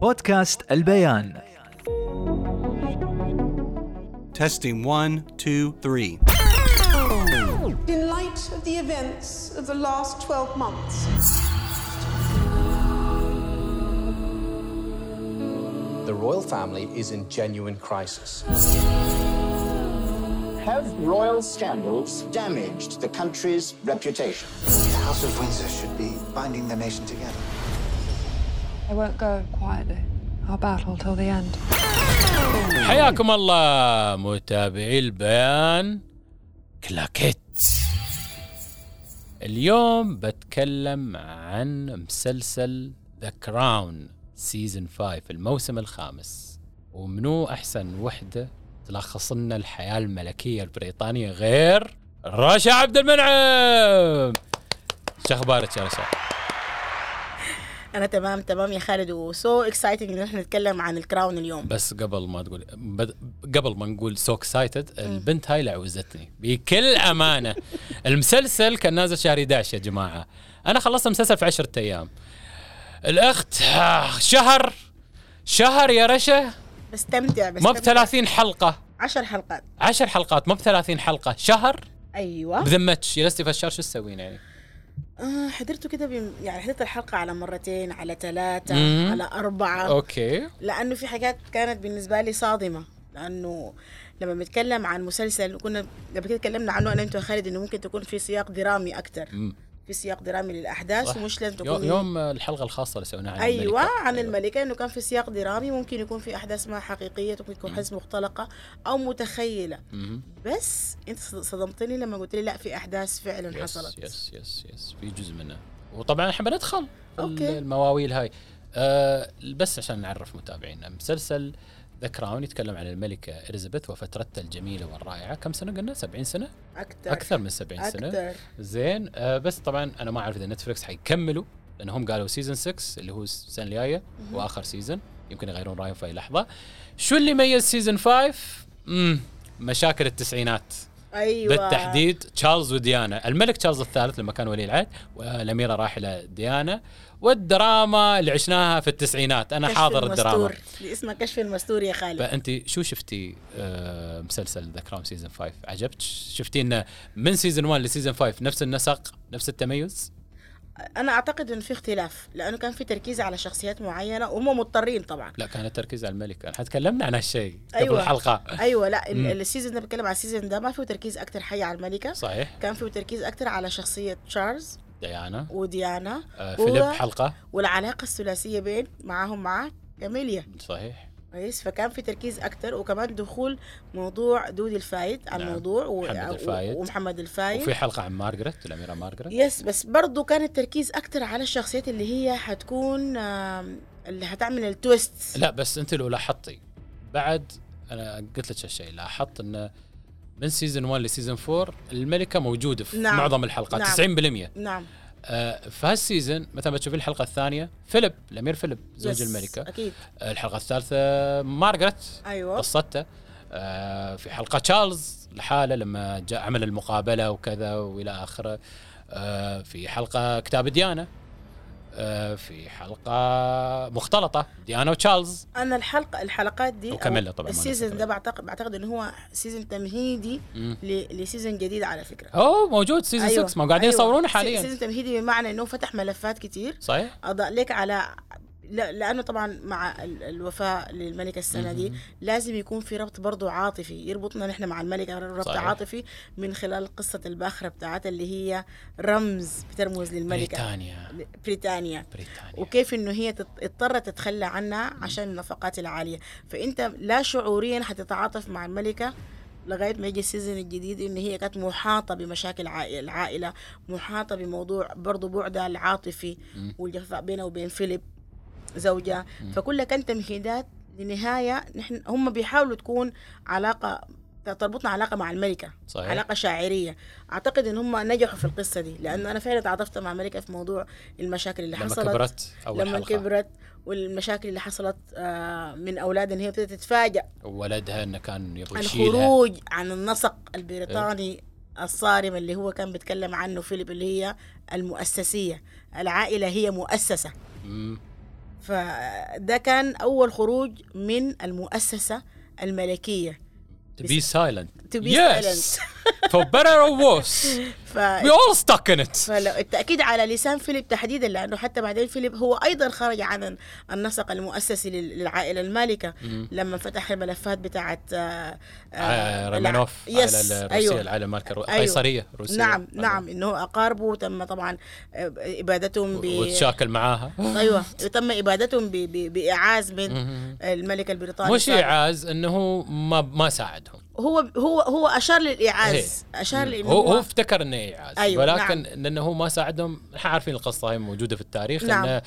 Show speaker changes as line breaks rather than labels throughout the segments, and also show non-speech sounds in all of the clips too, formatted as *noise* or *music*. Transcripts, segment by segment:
بودكاست البيان
Testing one, two, three.
In light of the events of the last 12 months,
The royal family is in genuine crisis.
Have royal scandals damaged the country's reputation?
The House of Windsor should be binding the nation together.
I won't go quietly. I'll battle till the end.
حياكم الله متابعي البيان كلاكيت اليوم بتكلم عن مسلسل ذا كراون سيزون 5 الموسم الخامس ومنو احسن وحده تلخص لنا الحياه الملكيه البريطانيه غير رشا عبد المنعم شو اخبارك يا رشا؟
انا تمام تمام يا خالد وسو اكسايتنج ان احنا نتكلم عن الكراون اليوم
بس قبل ما تقول بد... قبل ما نقول سو اكسايتد البنت هاي لعوزتني بكل امانه المسلسل كان نازل شهر 11 يا جماعه انا خلصت المسلسل في 10 ايام الاخت آه، شهر شهر يا رشا
بستمتع
ما
بستمتع
ب 30 حلقه
10 حلقات
10 حلقات ما ب 30 حلقه شهر أيوة.
ايوه
بذمتش جلستي في الشهر شو تسوين يعني؟
آه حضرته كده بم... يعني حضرت الحلقه على مرتين على ثلاثه
مم.
على اربعه
اوكي
لانه في حاجات كانت بالنسبه لي صادمه لانه لما بنتكلم عن مسلسل وكنا قبل كده تكلمنا عنه انا وانت وخالد انه ممكن تكون في سياق درامي اكثر
مم.
في سياق درامي للاحداث
صح.
ومش لازم
يو-
تكون
يوم الحلقه الخاصه اللي سويناها عن
ايوه
الملكة. أيوة.
عن الملكه انه كان في سياق درامي ممكن يكون في احداث ما حقيقيه ممكن تكون حدث مختلقه او متخيله
مم.
بس انت صد- صدمتني لما قلت لي لا في احداث فعلا
يس
حصلت
يس يس يس في جزء منه وطبعا احنا بندخل في
أوكي.
المواويل هاي أه بس عشان نعرف متابعينا مسلسل ذا كراون يتكلم عن الملكه اليزابيث وفترتها الجميله والرائعه كم سنه قلنا 70 سنه
اكثر
اكثر من 70 سنه
اكثر
زين أه بس طبعا انا ما اعرف اذا نتفلكس حيكملوا لانهم قالوا سيزون 6 اللي هو السنه الجايه واخر سيزون يمكن يغيرون رايهم في اي لحظه شو اللي ميز سيزون 5 امم مشاكل التسعينات
ايوه
بالتحديد تشارلز وديانا الملك تشارلز الثالث لما كان ولي العهد والاميره راحله ديانا والدراما اللي عشناها في التسعينات انا
كشف
حاضر الدراما
المستور. اللي اسمه كشف المستور يا خالد
فانت شو شفتي آه، مسلسل ذا كراون سيزون 5 عجبتش شفتي انه من سيزون 1 لسيزون 5 نفس النسق نفس التميز
انا اعتقد ان في اختلاف لانه كان في تركيز على شخصيات معينه وهم مضطرين طبعا
لا كان التركيز على الملك احنا تكلمنا عن هالشيء قبل
أيوة.
الحلقه
ايوه لا ال-
مم.
السيزون ده بتكلم على السيزون ده ما فيه تركيز اكثر حي على الملكه
صحيح
كان فيه تركيز اكثر على شخصيه تشارلز
ديانا
وديانا
آه،
هو-
فيليب حلقه
والعلاقه الثلاثيه بين معاهم مع كاميليا
صحيح
كويس فكان في تركيز اكثر وكمان دخول موضوع دودي الفايد على
نعم.
الموضوع و...
محمد
و-
الفايد.
ومحمد الفايد
وفي حلقه عن مارغريت الاميره مارغريت
يس بس برضو كان التركيز اكثر على الشخصيات اللي هي حتكون آم، اللي هتعمل التويست
لا بس انت لو لاحظتي بعد انا قلت لك هالشيء لاحظت انه من سيزون 1 لسيزون 4 الملكه موجوده في نعم.
نعم.
معظم الحلقات
نعم.
نعم. 90%
نعم
آه في هالسيزون مثلا بتشوفين الحلقه الثانيه فيليب الامير فيليب زوج
يس،
الملكه
اكيد
آه الحلقه الثالثه مارغريت
ايوه
قصته آه في حلقه تشارلز لحاله لما جاء عمل المقابله وكذا والى اخره آه في حلقه كتاب ديانا آه في حلقه مختلطه ديانا وتشارلز
انا الحلقه الحلقات دي أو
وكملها طبعاً، ما
السيزون
ننسى
ده بعتقد بعتقد انه هو سيزون تمهيدي
مم.
ل... لسيزون جديد على فكره
اوه موجود سيزون 6 ما قاعدين
أيوة.
يصورونه
سي-
حاليا
سيزون تمهيدي بمعنى انه فتح ملفات كتير
صحيح
اضاء لك على لا- لانه طبعا مع ال- الوفاء للملكه السنه دي لازم يكون في ربط برضو عاطفي يربطنا نحن مع الملكه ربط
صحيح.
صحيح. عاطفي من خلال قصه الباخره بتاعتها اللي هي رمز بترمز للملكه
بريطانيا
بريطانيا
بريطانيا
وكيف انه هي تت- اضطرت تتخلى عنها عشان النفقات العاليه فانت لا شعوريا حتتعاطف مع الملكه لغايه ما يجي السيزون الجديد ان هي كانت محاطه بمشاكل عائلة- العائله محاطه بموضوع برضو بعدها العاطفي والجفاء بينها وبين فيليب زوجها فكلها كان تمهيدات لنهايه نحن هم بيحاولوا تكون علاقه تربطنا علاقه مع الملكه
صحيح.
علاقه شاعريه اعتقد ان هم نجحوا في القصه دي لانه انا فعلا تعاطفت مع الملكه في موضوع المشاكل اللي
لما
حصلت
كبرت اول
لما
لما حلقه كبرت
كبرت والمشاكل اللي حصلت آه، من اولادها ان هي ابتدت تتفاجأ
ولدها انه كان يبغى يشيلها
الخروج عن النسق البريطاني
إيه.
الصارم اللي هو كان بيتكلم عنه فيليب اللي هي المؤسسيه العائله هي مؤسسه
مم.
فده كان أول خروج من المؤسسة الملكية
To be silent.
To be
yes. *laughs* For better or worse.
*laughs* ف...
We all stuck in it.
فلو التأكيد على لسان فيليب تحديدا لأنه حتى بعدين فيليب هو أيضا خرج عن النسق المؤسسي لل- للعائلة المالكة لما فتح الملفات بتاعت آه، آه،
آه، رومانوف
الع- يس،
على الروسية
أيوه.
أيوه. على الماركة الرو-
أيوه.
قيصرية روسية
نعم نعم انه اقاربه تم طبعا آه، ابادتهم ب
وتشاكل معاها
ايوه تم ابادتهم ب... ب... باعاز من الملكه البريطانيه
مش ايعاز انه هو ما ما ساعدهم
هو هو هو اشار للاعاز اشار لانه
إيه. هو هو افتكر انه ايعاز
أيوه،
ولكن لانه هو ما ساعدهم احنا عارفين القصه هي موجوده في التاريخ
نعم.
انه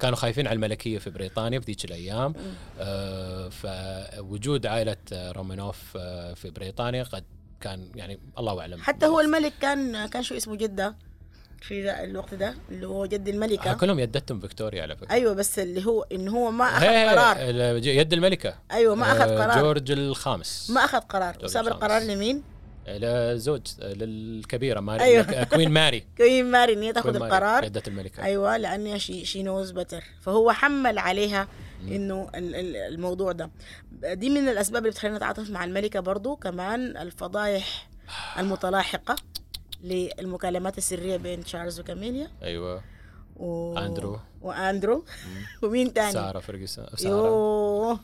كانوا خايفين على الملكيه في بريطانيا في ذيك الايام آه فوجود عائله آه، رومانوف آه في بريطانيا قد كان يعني الله اعلم
حتى هو الملك كان كان شو اسمه جده في ذا الوقت ده اللي هو جد الملكه
آه، كلهم يدتهم فيكتوريا على فكره
ايوه بس اللي هو ان هو ما
هي-
اخذ قرار
ال- يد الملكه
ايوه ما اخذ
آه،
قرار
جورج الخامس
ما اخذ قرار وساب
خامس.
القرار لمين؟
لزوج للكبيره آه، ماري آه،
أيوه.
كوين
*laughs*
ماري
كوين ماري ان هي تاخذ
كوين ماري،
القرار
جده الملكه
ايوه لان شي شي نوز بتر فهو حمل عليها انه ال- ال- الموضوع ده دي من الاسباب اللي بتخلينا نتعاطف مع الملكه برضو كمان الفضايح المتلاحقه للمكالمات السريه بين تشارلز وكاميليا
ايوه
و...
أندرو.
واندرو ومين تاني؟
ساره فرغسون
أيوه.
ساره
يوه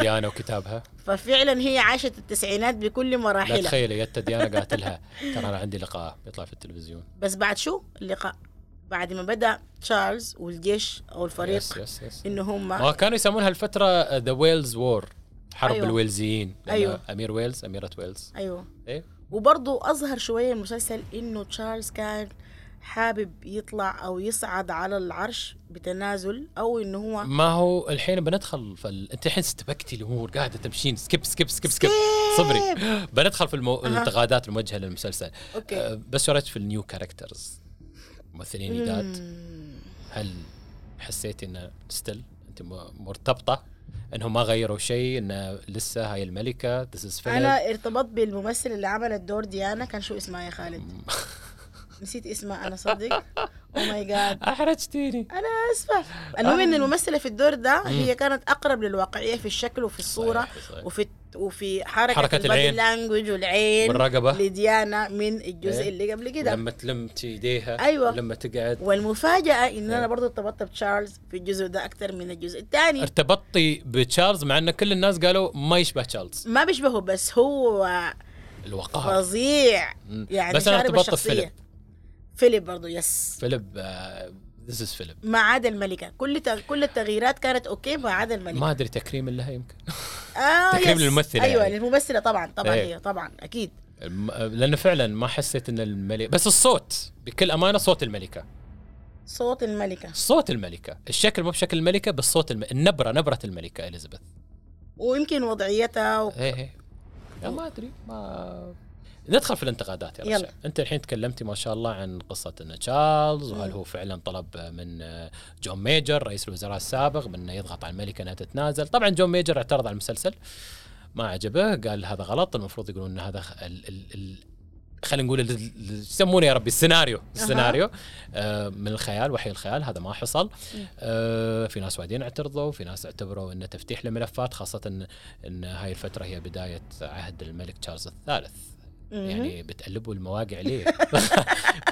ديانا
*laughs*
وكتابها
ففعلا هي عاشت التسعينات بكل
لا
مراحلها
تخيلي يتا ديانا قاتلها ترى انا عندي لقاء يطلع في التلفزيون
بس بعد شو اللقاء بعد ما بدا تشارلز والجيش او الفريق
يس يس يس
ان هم
ما كانوا يسمونها آه، الفتره ذا ويلز وور حرب
أيوة.
أيوة. الويلزيين لأن
أيوة.
امير ويلز اميره ويلز
ايوه
ايه
وبرضه اظهر شويه المسلسل انه تشارلز كان حابب يطلع او يصعد على العرش بتنازل او انه هو
ما هو الحين بندخل في ال... انت الحين استبكتي الامور قاعده تمشين سكيب سكيب سكيب سكيب صبري بندخل في المو... الانتقادات الموجهه للمسلسل
أوكي.
أه بس شو رأيك في النيو كاركترز ممثلين جداد
مم،
هل حسيتي ان ستيل انت م- مرتبطه انهم ما غيروا شيء ان لسه هاي الملكه ذس از
انا ارتبطت بالممثل اللي عمل الدور ديانا كان شو اسمها يا خالد نسيت اسمها انا صدق Oh او ماي جاد
احرجتيني
انا اسفه المهم
آه.
ان الممثله في الدور ده هي كانت اقرب للواقعيه في الشكل وفي الصوره
صحيح، صحيح.
وفي وفي حركه,
حركة العين.
لانجوج والعين
والرقبة.
لديانا من الجزء
إيه.
اللي قبل كده
لما تلمتي ايديها
أيوة.
لما تقعد
والمفاجاه ان انا
إيه.
برضو ارتبطت بتشارلز في الجزء ده اكتر من الجزء الثاني
ارتبطتي بتشارلز مع ان كل الناس قالوا ما يشبه تشارلز
ما بيشبهه بس هو
الوقار
فظيع
مم.
يعني
بس أنا
شارب
ارتبطت
الشخصية.
بفيليب.
فيليب برضو يس
فيليب ذس از فيليب
ما عدا الملكه كل تغ... كل التغييرات كانت اوكي ما عدا الملكه
ما ادري تكريم لها يمكن *laughs*
آه
تكريم
يس.
للممثلة
ايوه
يعني.
للممثله طبعا طبعا
إيه.
هي طبعا اكيد
الم- لانه فعلا ما حسيت ان الملك بس الصوت بكل امانه صوت الملكه
صوت الملكه
صوت الملكه الشكل مو بشكل الملكه بس صوت الم... النبره نبره الملكه اليزابيث
ويمكن وضعيتها و...
ايه ايه لا، ما ادري ما ندخل في الانتقادات يا
يلا.
رجال انت الحين تكلمتي ما شاء الله عن قصه ان تشارلز وهل هو فعلا طلب من آه، جون ميجر رئيس الوزراء السابق من انه يضغط على الملكه انها تتنازل طبعا جون ميجر اعترض على المسلسل ما عجبه قال هذا غلط المفروض يقولون ان هذا خ- ال ال ال خلينا نقول ال- ال- يسمونه يا ربي السيناريو السيناريو آه من الخيال وحي الخيال هذا ما حصل آه في ناس وايدين اعترضوا في ناس اعتبروا انه تفتيح لملفات خاصه ان, إن هاي الفتره هي بدايه عهد الملك تشارلز الثالث يعني بتقلبوا المواقع
*laughs*
ليه؟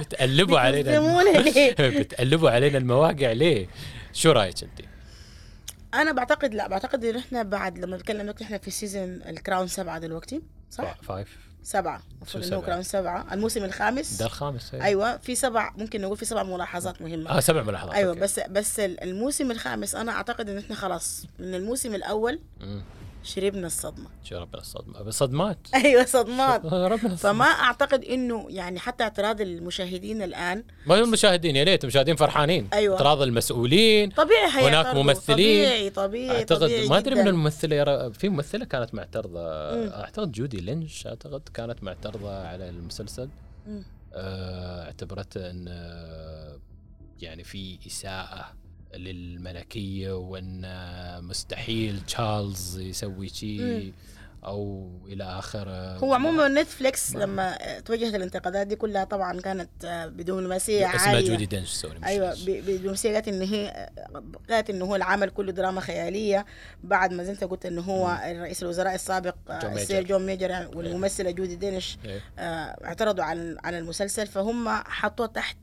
بتقلبوا علينا
بتهزمونا ليه؟
*laughs* بتقلبوا علينا المواقع ليه؟ شو رايك انت؟
أه. انا بعتقد لا بعتقد ان احنا بعد لما بنتكلم دلوقتي احنا في سيزون الكراون سبعه دلوقتي صح؟
فايف
سبعه
شو
المفروض انه
سبعة؟
كراون سبعه الموسم الخامس
ده الخامس أيوة.
ايوه في سبع ممكن نقول في سبع ملاحظات مهمه
اه سبع ملاحظات
ايوه
أوكي.
بس بس ال- الموسم الخامس انا اعتقد ان احنا خلاص من الموسم الاول
مم.
شربنا الصدمه *laughs*
شو ربنا الصدمه بس صدمات
ايوه صدمات
*laughs* ربنا
فما اعتقد انه يعني حتى اعتراض المشاهدين الان
ما هم المشاهدين يا ليت المشاهدين فرحانين
أيوة.
اعتراض المسؤولين
طبيعي
هناك
حيعترضوا.
ممثلين.
طبيعي طبيعي
اعتقد
طبيعي
ما ادري من
جداً.
الممثله يرى في ممثله كانت معترضه اعتقد جودي لينش اعتقد كانت معترضه على المسلسل
مم.
آه، اعتبرت ان آه، يعني في اساءه للملكيه وان آه، مستحيل تشارلز يسوي شيء او الى اخره
هو عموما نتفليكس لما توجهت الانتقادات دي كلها طبعا كانت آه، بدبلوماسيه
اسمها
عاليه
جودي دينش سوري مش
ايوه
دينش.
ب- بدبلوماسيه قالت ان هي قالت ان هو العمل كله دراما خياليه بعد ما زي انت قلت ان هو رئيس الوزراء السابق آه،
جون
السير
ميجر.
جون ميجر والممثله جودي دينش
إيه.
آه، اعترضوا عن عن المسلسل فهم حطوه تحت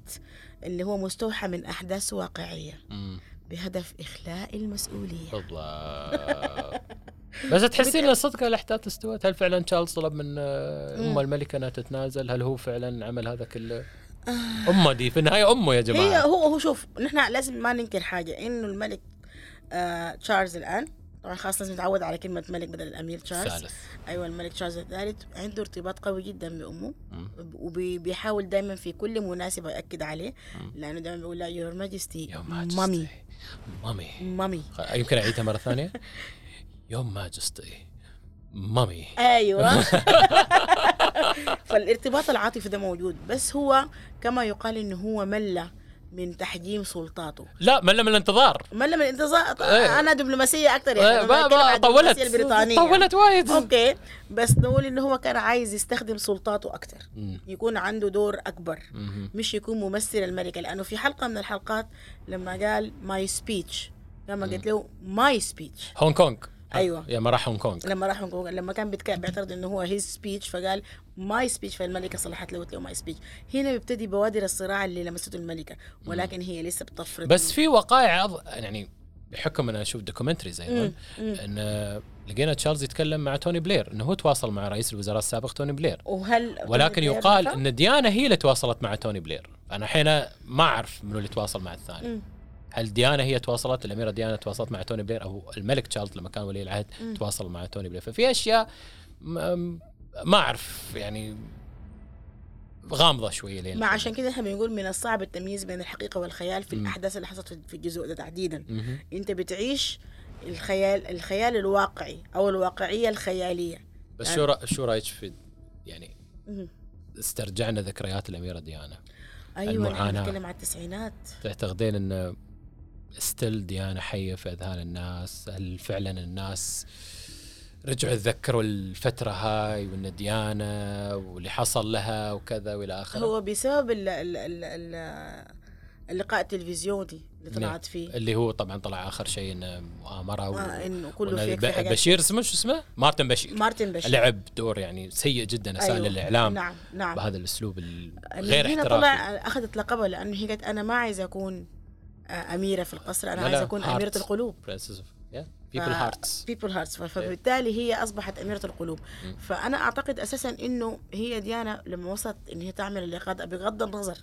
اللي هو مستوحى من احداث واقعيه
أمم،
بهدف اخلاء المسؤوليه
بالضبط بس تحسين ان صدق الاحداث استوت هل فعلا تشارلز طلب من آه، ام الملكه انها تتنازل هل هو فعلا عمل هذا كله امه دي في النهايه امه يا جماعه
آه. هي هو هو شوف نحن لازم ما ننكر حاجه انه الملك آه تشارلز الان طبعا خلاص لازم نتعود على كلمه ملك بدل الامير تشارلز
الثالث
ايوه الملك تشارلز الثالث عنده ارتباط قوي جدا بامه
مم.
وبيحاول دائما في كل مناسبه ياكد عليه لانه دائما بيقول لها يور ماجستي
يا
مامي
ماجستي مامي
مامي
خ- يمكن اعيدها مره
*laughs*
ثانيه يوم ماجستي مامي
ايوه فالارتباط العاطفي ده موجود بس هو كما يقال انه هو مل من تحجيم سلطاته
لا مل من الانتظار
ملا من الانتظار
إيه.
انا دبلوماسيه اكثر يعني
آه،
أنا
ما-
بتكلم عن
ما- طولت
الدبلوماسية البريطانيه
طولت وايد
اوكي بس نقول ان هو كان عايز يستخدم سلطاته اكثر
مم.
يكون عنده دور اكبر
مهم.
مش يكون ممثل الملكه لانه في حلقه من الحلقات لما قال ماي سبيتش لما قلت له ماي سبيتش
هونغ كونغ
أيوة.
يا ما راح هونغ كونغ
لما راح هونغ كونغ- لما كان بيتك- بيعترض انه هو هيز سبيتش فقال ماي سبيتش فالملكه صلحت له قلت له ماي سبيتش هنا بيبتدي بوادر الصراع اللي لمسته الملكه ولكن هي لسه بتفرض
بس في وقائع أض... يعني بحكم انا اشوف دوكيومنتريز ايضا ان آه، لقينا تشارلز يتكلم مع توني بلير انه هو تواصل مع رئيس الوزراء السابق توني بلير
وهل
ولكن يقال ان ديانا هي اللي تواصلت مع توني بلير انا الحين ما اعرف منو اللي تواصل مع الثاني هل ديانا هي تواصلت الاميره ديانا تواصلت مع توني بلير او الملك تشارلز لما كان ولي العهد تواصل مع توني بلير ففي اشياء م- ما اعرف يعني غامضه شويه لين
ما
الحين.
عشان كده احنا بنقول من الصعب التمييز بين الحقيقه والخيال في الاحداث اللي حصلت في الجزء ده تحديدا
مهم.
انت بتعيش الخيال الخيال الواقعي او الواقعيه الخياليه
بس شو رأ- شو رايك في يعني
مهم.
استرجعنا ذكريات الاميره ديانا
ايوه نحن
المعاناة.
بنتكلم على التسعينات
تعتقدين ان ستيل ديانا حيه في اذهان الناس هل فعلا الناس رجعوا يتذكروا الفتره هاي وان ديانا واللي حصل لها وكذا والى اخره
هو بسبب ال ال ال ال اللقاء التلفزيوني اللي
نعم.
طلعت فيه
اللي هو طبعا طلع اخر شيء انه مؤامره و...
آه، إنه كله
وإنه
فيك
ب-
في حاجات.
بشير اسمه شو اسمه؟ مارتن بشير
مارتن بشير
لعب دور يعني سيء جدا اساء
أيوه.
للاعلام
نعم، نعم.
بهذا الاسلوب الغير
غير
احترافي
طلع اخذت لقبها لانه هي قالت انا ما عايزه اكون آه، اميره في القصر انا
لا، لا،
عايزه اكون
hearts.
اميره القلوب
Princess of- yeah, people hearts إيه.
بيبل هارتس فبالتالي هي اصبحت اميره القلوب فانا اعتقد اساسا انه هي ديانا لما وصلت ان هي تعمل اللقاء ده بغض النظر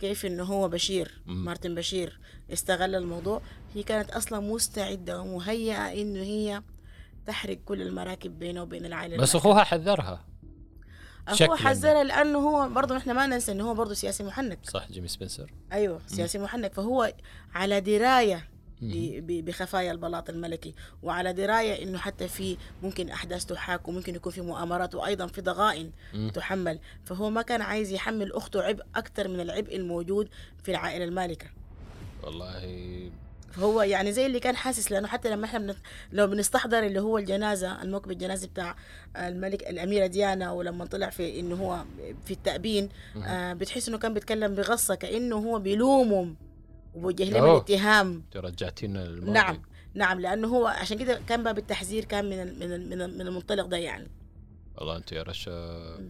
كيف انه هو بشير مارتن بشير استغل الموضوع هي كانت اصلا مستعده ومهيئه انه هي تحرق كل المراكب بينه وبين
*laughs*
العائله
بس اخوها حذرها
المالكة.
شكلاً.
هو حذرها لانه هو برضه احنا ما ننسى انه هو برضه سياسي محنك
صح جيمي سبنسر
ايوه سياسي محنك فهو على درايه ب- ب- بخفايا البلاط الملكي وعلى درايه انه حتى في ممكن احداث تحاك وممكن يكون في مؤامرات وايضا في ضغائن تحمل فهو ما كان عايز يحمل اخته عبء اكثر من العبء الموجود في العائله المالكه
والله
فهو يعني زي اللي كان حاسس لانه حتى لما احنا بنت... لو بنستحضر اللي هو الجنازه الموكب الجنازي بتاع الملك الاميره ديانا ولما طلع في انه هو في التابين آه بتحس انه كان بيتكلم بغصه كانه هو بيلومهم وبوجه لهم
أوه.
الاتهام
ترجعتينا للماضي
نعم نعم لانه هو عشان كده كان باب التحذير كان من ال- من ال- من ال- من المنطلق ده يعني
والله انت يا رشا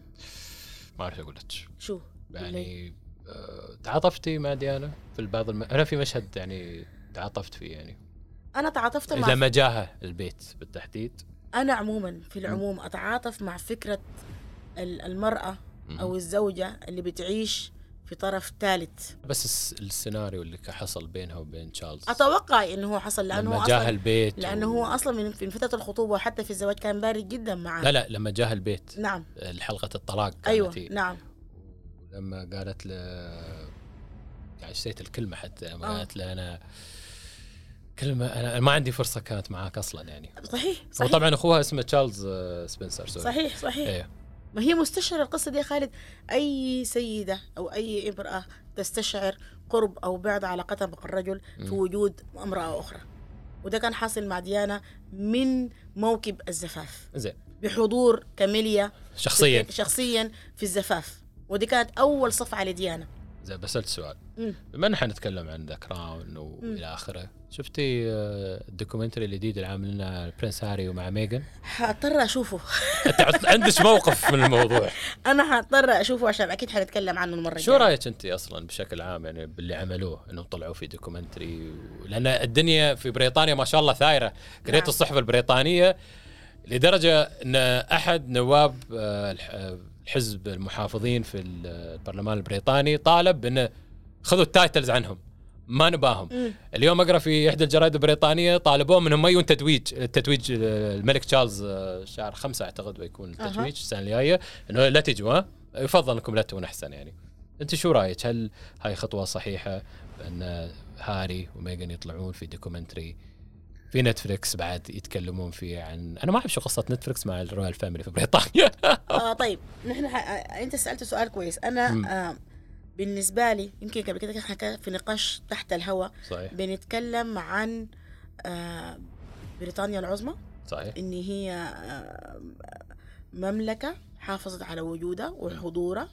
ما اعرف اقول لك
شو
يعني آه، تعاطفتي مع ديانا في بعض الم... انا في مشهد يعني تعاطفت فيه يعني
انا تعاطفت مع
لما جاها البيت بالتحديد
انا عموما في العموم اتعاطف مع فكره ال- المراه او الزوجه اللي بتعيش في طرف ثالث
بس الس- السيناريو اللي كان حصل بينها وبين تشارلز
اتوقع انه هو حصل لانه
لما
هو
جاه
أصلاً-
البيت
لانه
و-
هو اصلا من من فتره الخطوبه حتى في الزواج كان بارد جدا معاه
لا لا لما جاه البيت
نعم
حلقه الطلاق كانت
ايوه
هي.
نعم
لما قالت له يعني نسيت الكلمه حتى لما
آه.
قالت له انا كلمه انا ما عندي فرصه كانت معاك اصلا يعني
صحيح
هو
صحيح
طبعا اخوها اسمه تشارلز آه، سبنسر سوري
صحيح صحيح
ايه
ما هي مستشعرة القصة دي يا خالد أي سيدة أو أي امرأة تستشعر قرب أو بعد علاقتها مع الرجل في وجود امرأة أخرى وده كان حاصل مع ديانا من موكب الزفاف
زين
بحضور كاميليا
شخصيا
شخصيا في الزفاف ودي كانت اول صفعه لديانا
زين بسألت سؤال
مم.
بما ان احنا نتكلم عن ذا كراون
مم.
والى اخره شفتي آه، الدوكيومنتري الجديد اللي عاملينه البرنس هاري ومع ميغن
هضطر اشوفه *laughs*
انت عندك موقف من الموضوع
انا هضطر اشوفه عشان اكيد حنتكلم عنه المره
شو
الجاية.
رايك انت اصلا بشكل عام يعني باللي عملوه انهم طلعوا في دوكيومنتري و- لان الدنيا في بريطانيا ما شاء الله ثايره قريت
نعم.
الصحف البريطانيه لدرجه ان احد نواب آه، الح- آه، الحزب المحافظين في ال- آه، البرلمان البريطاني طالب بانه خذوا التايتلز عنهم ما نباهم اليوم اقرا في احدى الجرائد البريطانيه طالبوه منهم ما يجون تتويج التتويج آه، الملك تشارلز آه، شهر خمسة اعتقد بيكون التتويج السنه الجايه انه لا تجوا ها؟ يفضل انكم لا تجون احسن يعني انت شو رايك هل هاي خطوه صحيحه بان هاري وميغن يطلعون في دوكيومنتري في نتفلكس بعد يتكلمون فيه عن انا ما اعرف شو قصه نتفلكس مع الرويال فاميلي في بريطانيا *laughs*
آه طيب نحن ح... آه، انت سالت سؤال كويس انا آه بالنسبه لي يمكن قبل كده احنا كان في نقاش تحت الهواء
صحيح
بنتكلم عن آه بريطانيا العظمى
صحيح
ان هي آه، مملكه حافظت على وجودها وحضورها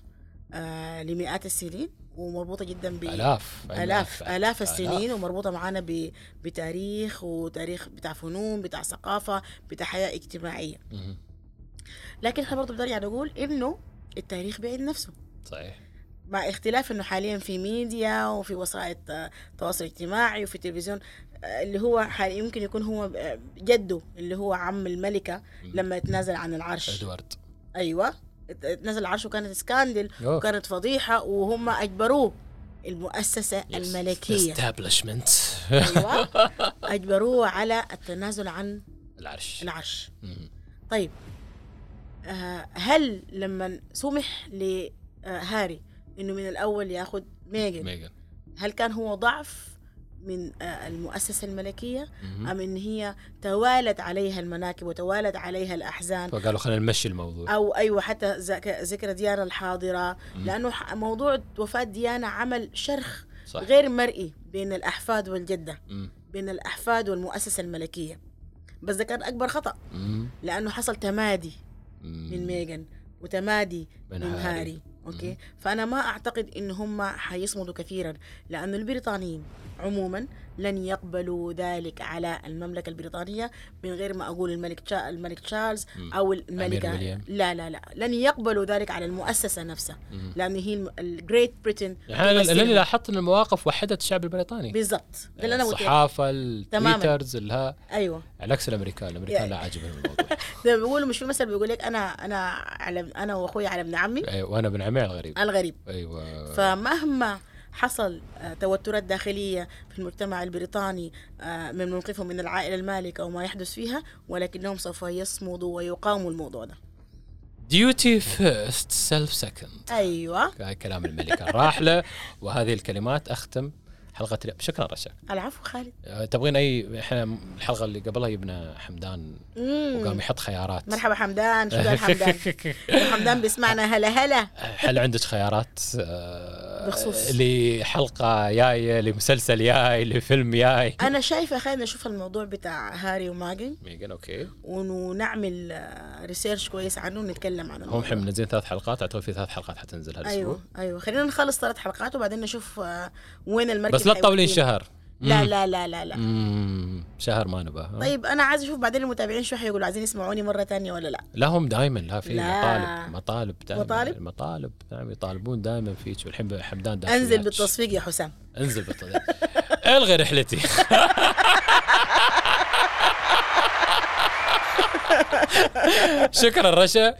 آه، لمئات السنين ومربوطه جدا ب
الاف
الاف الاف السنين
آلاف.
ومربوطه معانا ب- بتاريخ وتاريخ بتاع فنون بتاع ثقافه بتاع حياه اجتماعيه
مهم.
لكن احنا برضه بنرجع نقول انه التاريخ بيعيد نفسه
صحيح
مع اختلاف انه حاليا في ميديا وفي وسائل آه، تواصل اجتماعي وفي تلفزيون آه، اللي هو حال- يمكن يكون هو آه، جده اللي هو عم الملكه لما تنازل عن العرش
ادوارد
ايوه ات- اتنازل العرش وكانت سكاندل
أوه.
وكانت فضيحه وهم اجبروه المؤسسه الملكيه
استابلشمنت
ايوه اجبروه على التنازل عن
*laughs* العرش
العرش
مهم.
طيب آه، هل لما سمح لهاري انه من الاول ياخذ ميغن
ميغن
هل كان هو ضعف من آه، المؤسسه الملكيه
مهم.
ام ان هي توالت عليها المناكب وتوالت عليها الاحزان
فقالوا خلينا نمشي الموضوع
او ايوه حتى ذك- ذكرى ديانا الحاضره لانه ح- موضوع وفاه ديانا عمل شرخ
صح
غير مرئي بين الاحفاد والجده
مم.
بين الأحفاد والمؤسسة الملكية بس ده كان أكبر خطأ
مم.
لأنه حصل تمادي
مم.
من ميغان وتمادي
من
من,
هاري.
هاري. أوكي فأنا ما أعتقد إن هم حيصمدوا كثيرا لأن البريطانيين عموما لن يقبلوا ذلك على المملكة البريطانية من غير ما أقول الملك تشا... الملك تشارلز
مم.
أو الملكة
ويليام.
لا لا لا لن يقبلوا ذلك على المؤسسة نفسها
مم.
لأن هي الجريت بريتن
يعني أنا- لاني لاحظت ان المواقف وحدت الشعب البريطاني
بالضبط ده اللي أنا قلت
الصحافه التويترز الها
أيوه
العكس الامريكان الامريكان لا عاجبهم الموضوع
*laughs* ده بيقولوا مش في مثل بيقول لك انا انا على انا واخويا على ابن عمي
أي- وانا ابن عمي على أيوة، الغريب
الغريب
ايوه
فمهما حصل آه، توترات داخلية في المجتمع البريطاني آه، من موقفهم من العائلة المالكة وما يحدث فيها ولكنهم سوف يصمدوا ويقاوموا الموضوع ده
ديوتي فيرست سيلف سكند
أيوة
كلام الملكه الراحله وهذه الكلمات اختم حلقه اليوم شكرا رشا
العفو خالد
أه، تبغين اي احنا الحلقه اللي قبلها جبنا حمدان وقام يحط خيارات
مرحبا حمدان شو
*laughs*
قال حمدان حمدان بيسمعنا هلا هلا
هل عندك خيارات آه،
بخصوص.
لحلقه جايه لمسلسل جاي لفيلم جاي
أنا شايفة خلينا نشوف الموضوع بتاع هاري وماجن
ميغان اوكي
ونعمل ريسيرش كويس عنه ونتكلم عنه
هم احنا منزلين ثلاث حلقات اعتقد في ثلاث حلقات حتنزل هالاسبوع
ايوه ايوه خلينا نخلص ثلاث حلقات وبعدين نشوف آه، وين المركز
بس لا
حيودينا.
تطولين شهر
لا لا لا لا لا
امم شهر ما نبى ها؟
طيب انا عايز اشوف بعدين المتابعين شو حيقولوا عايزين يسمعوني مره تانية ولا لا
لا هم دائما لا في
لا.
مطالب مطالب دائما
مطالب؟
مطالب نعم يطالبون دائما فيك والحين حمدان داخل
انزل
ياتش.
بالتصفيق يا حسام
انزل بالتصفيق الغي رحلتي شكرا رشا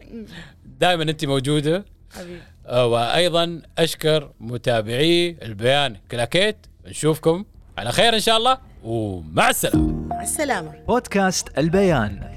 دائما انت موجوده
حبيبي
آه، وايضا اشكر متابعي البيان كلاكيت نشوفكم على خير ان شاء الله ومع السلامه
مع السلامه
بودكاست البيان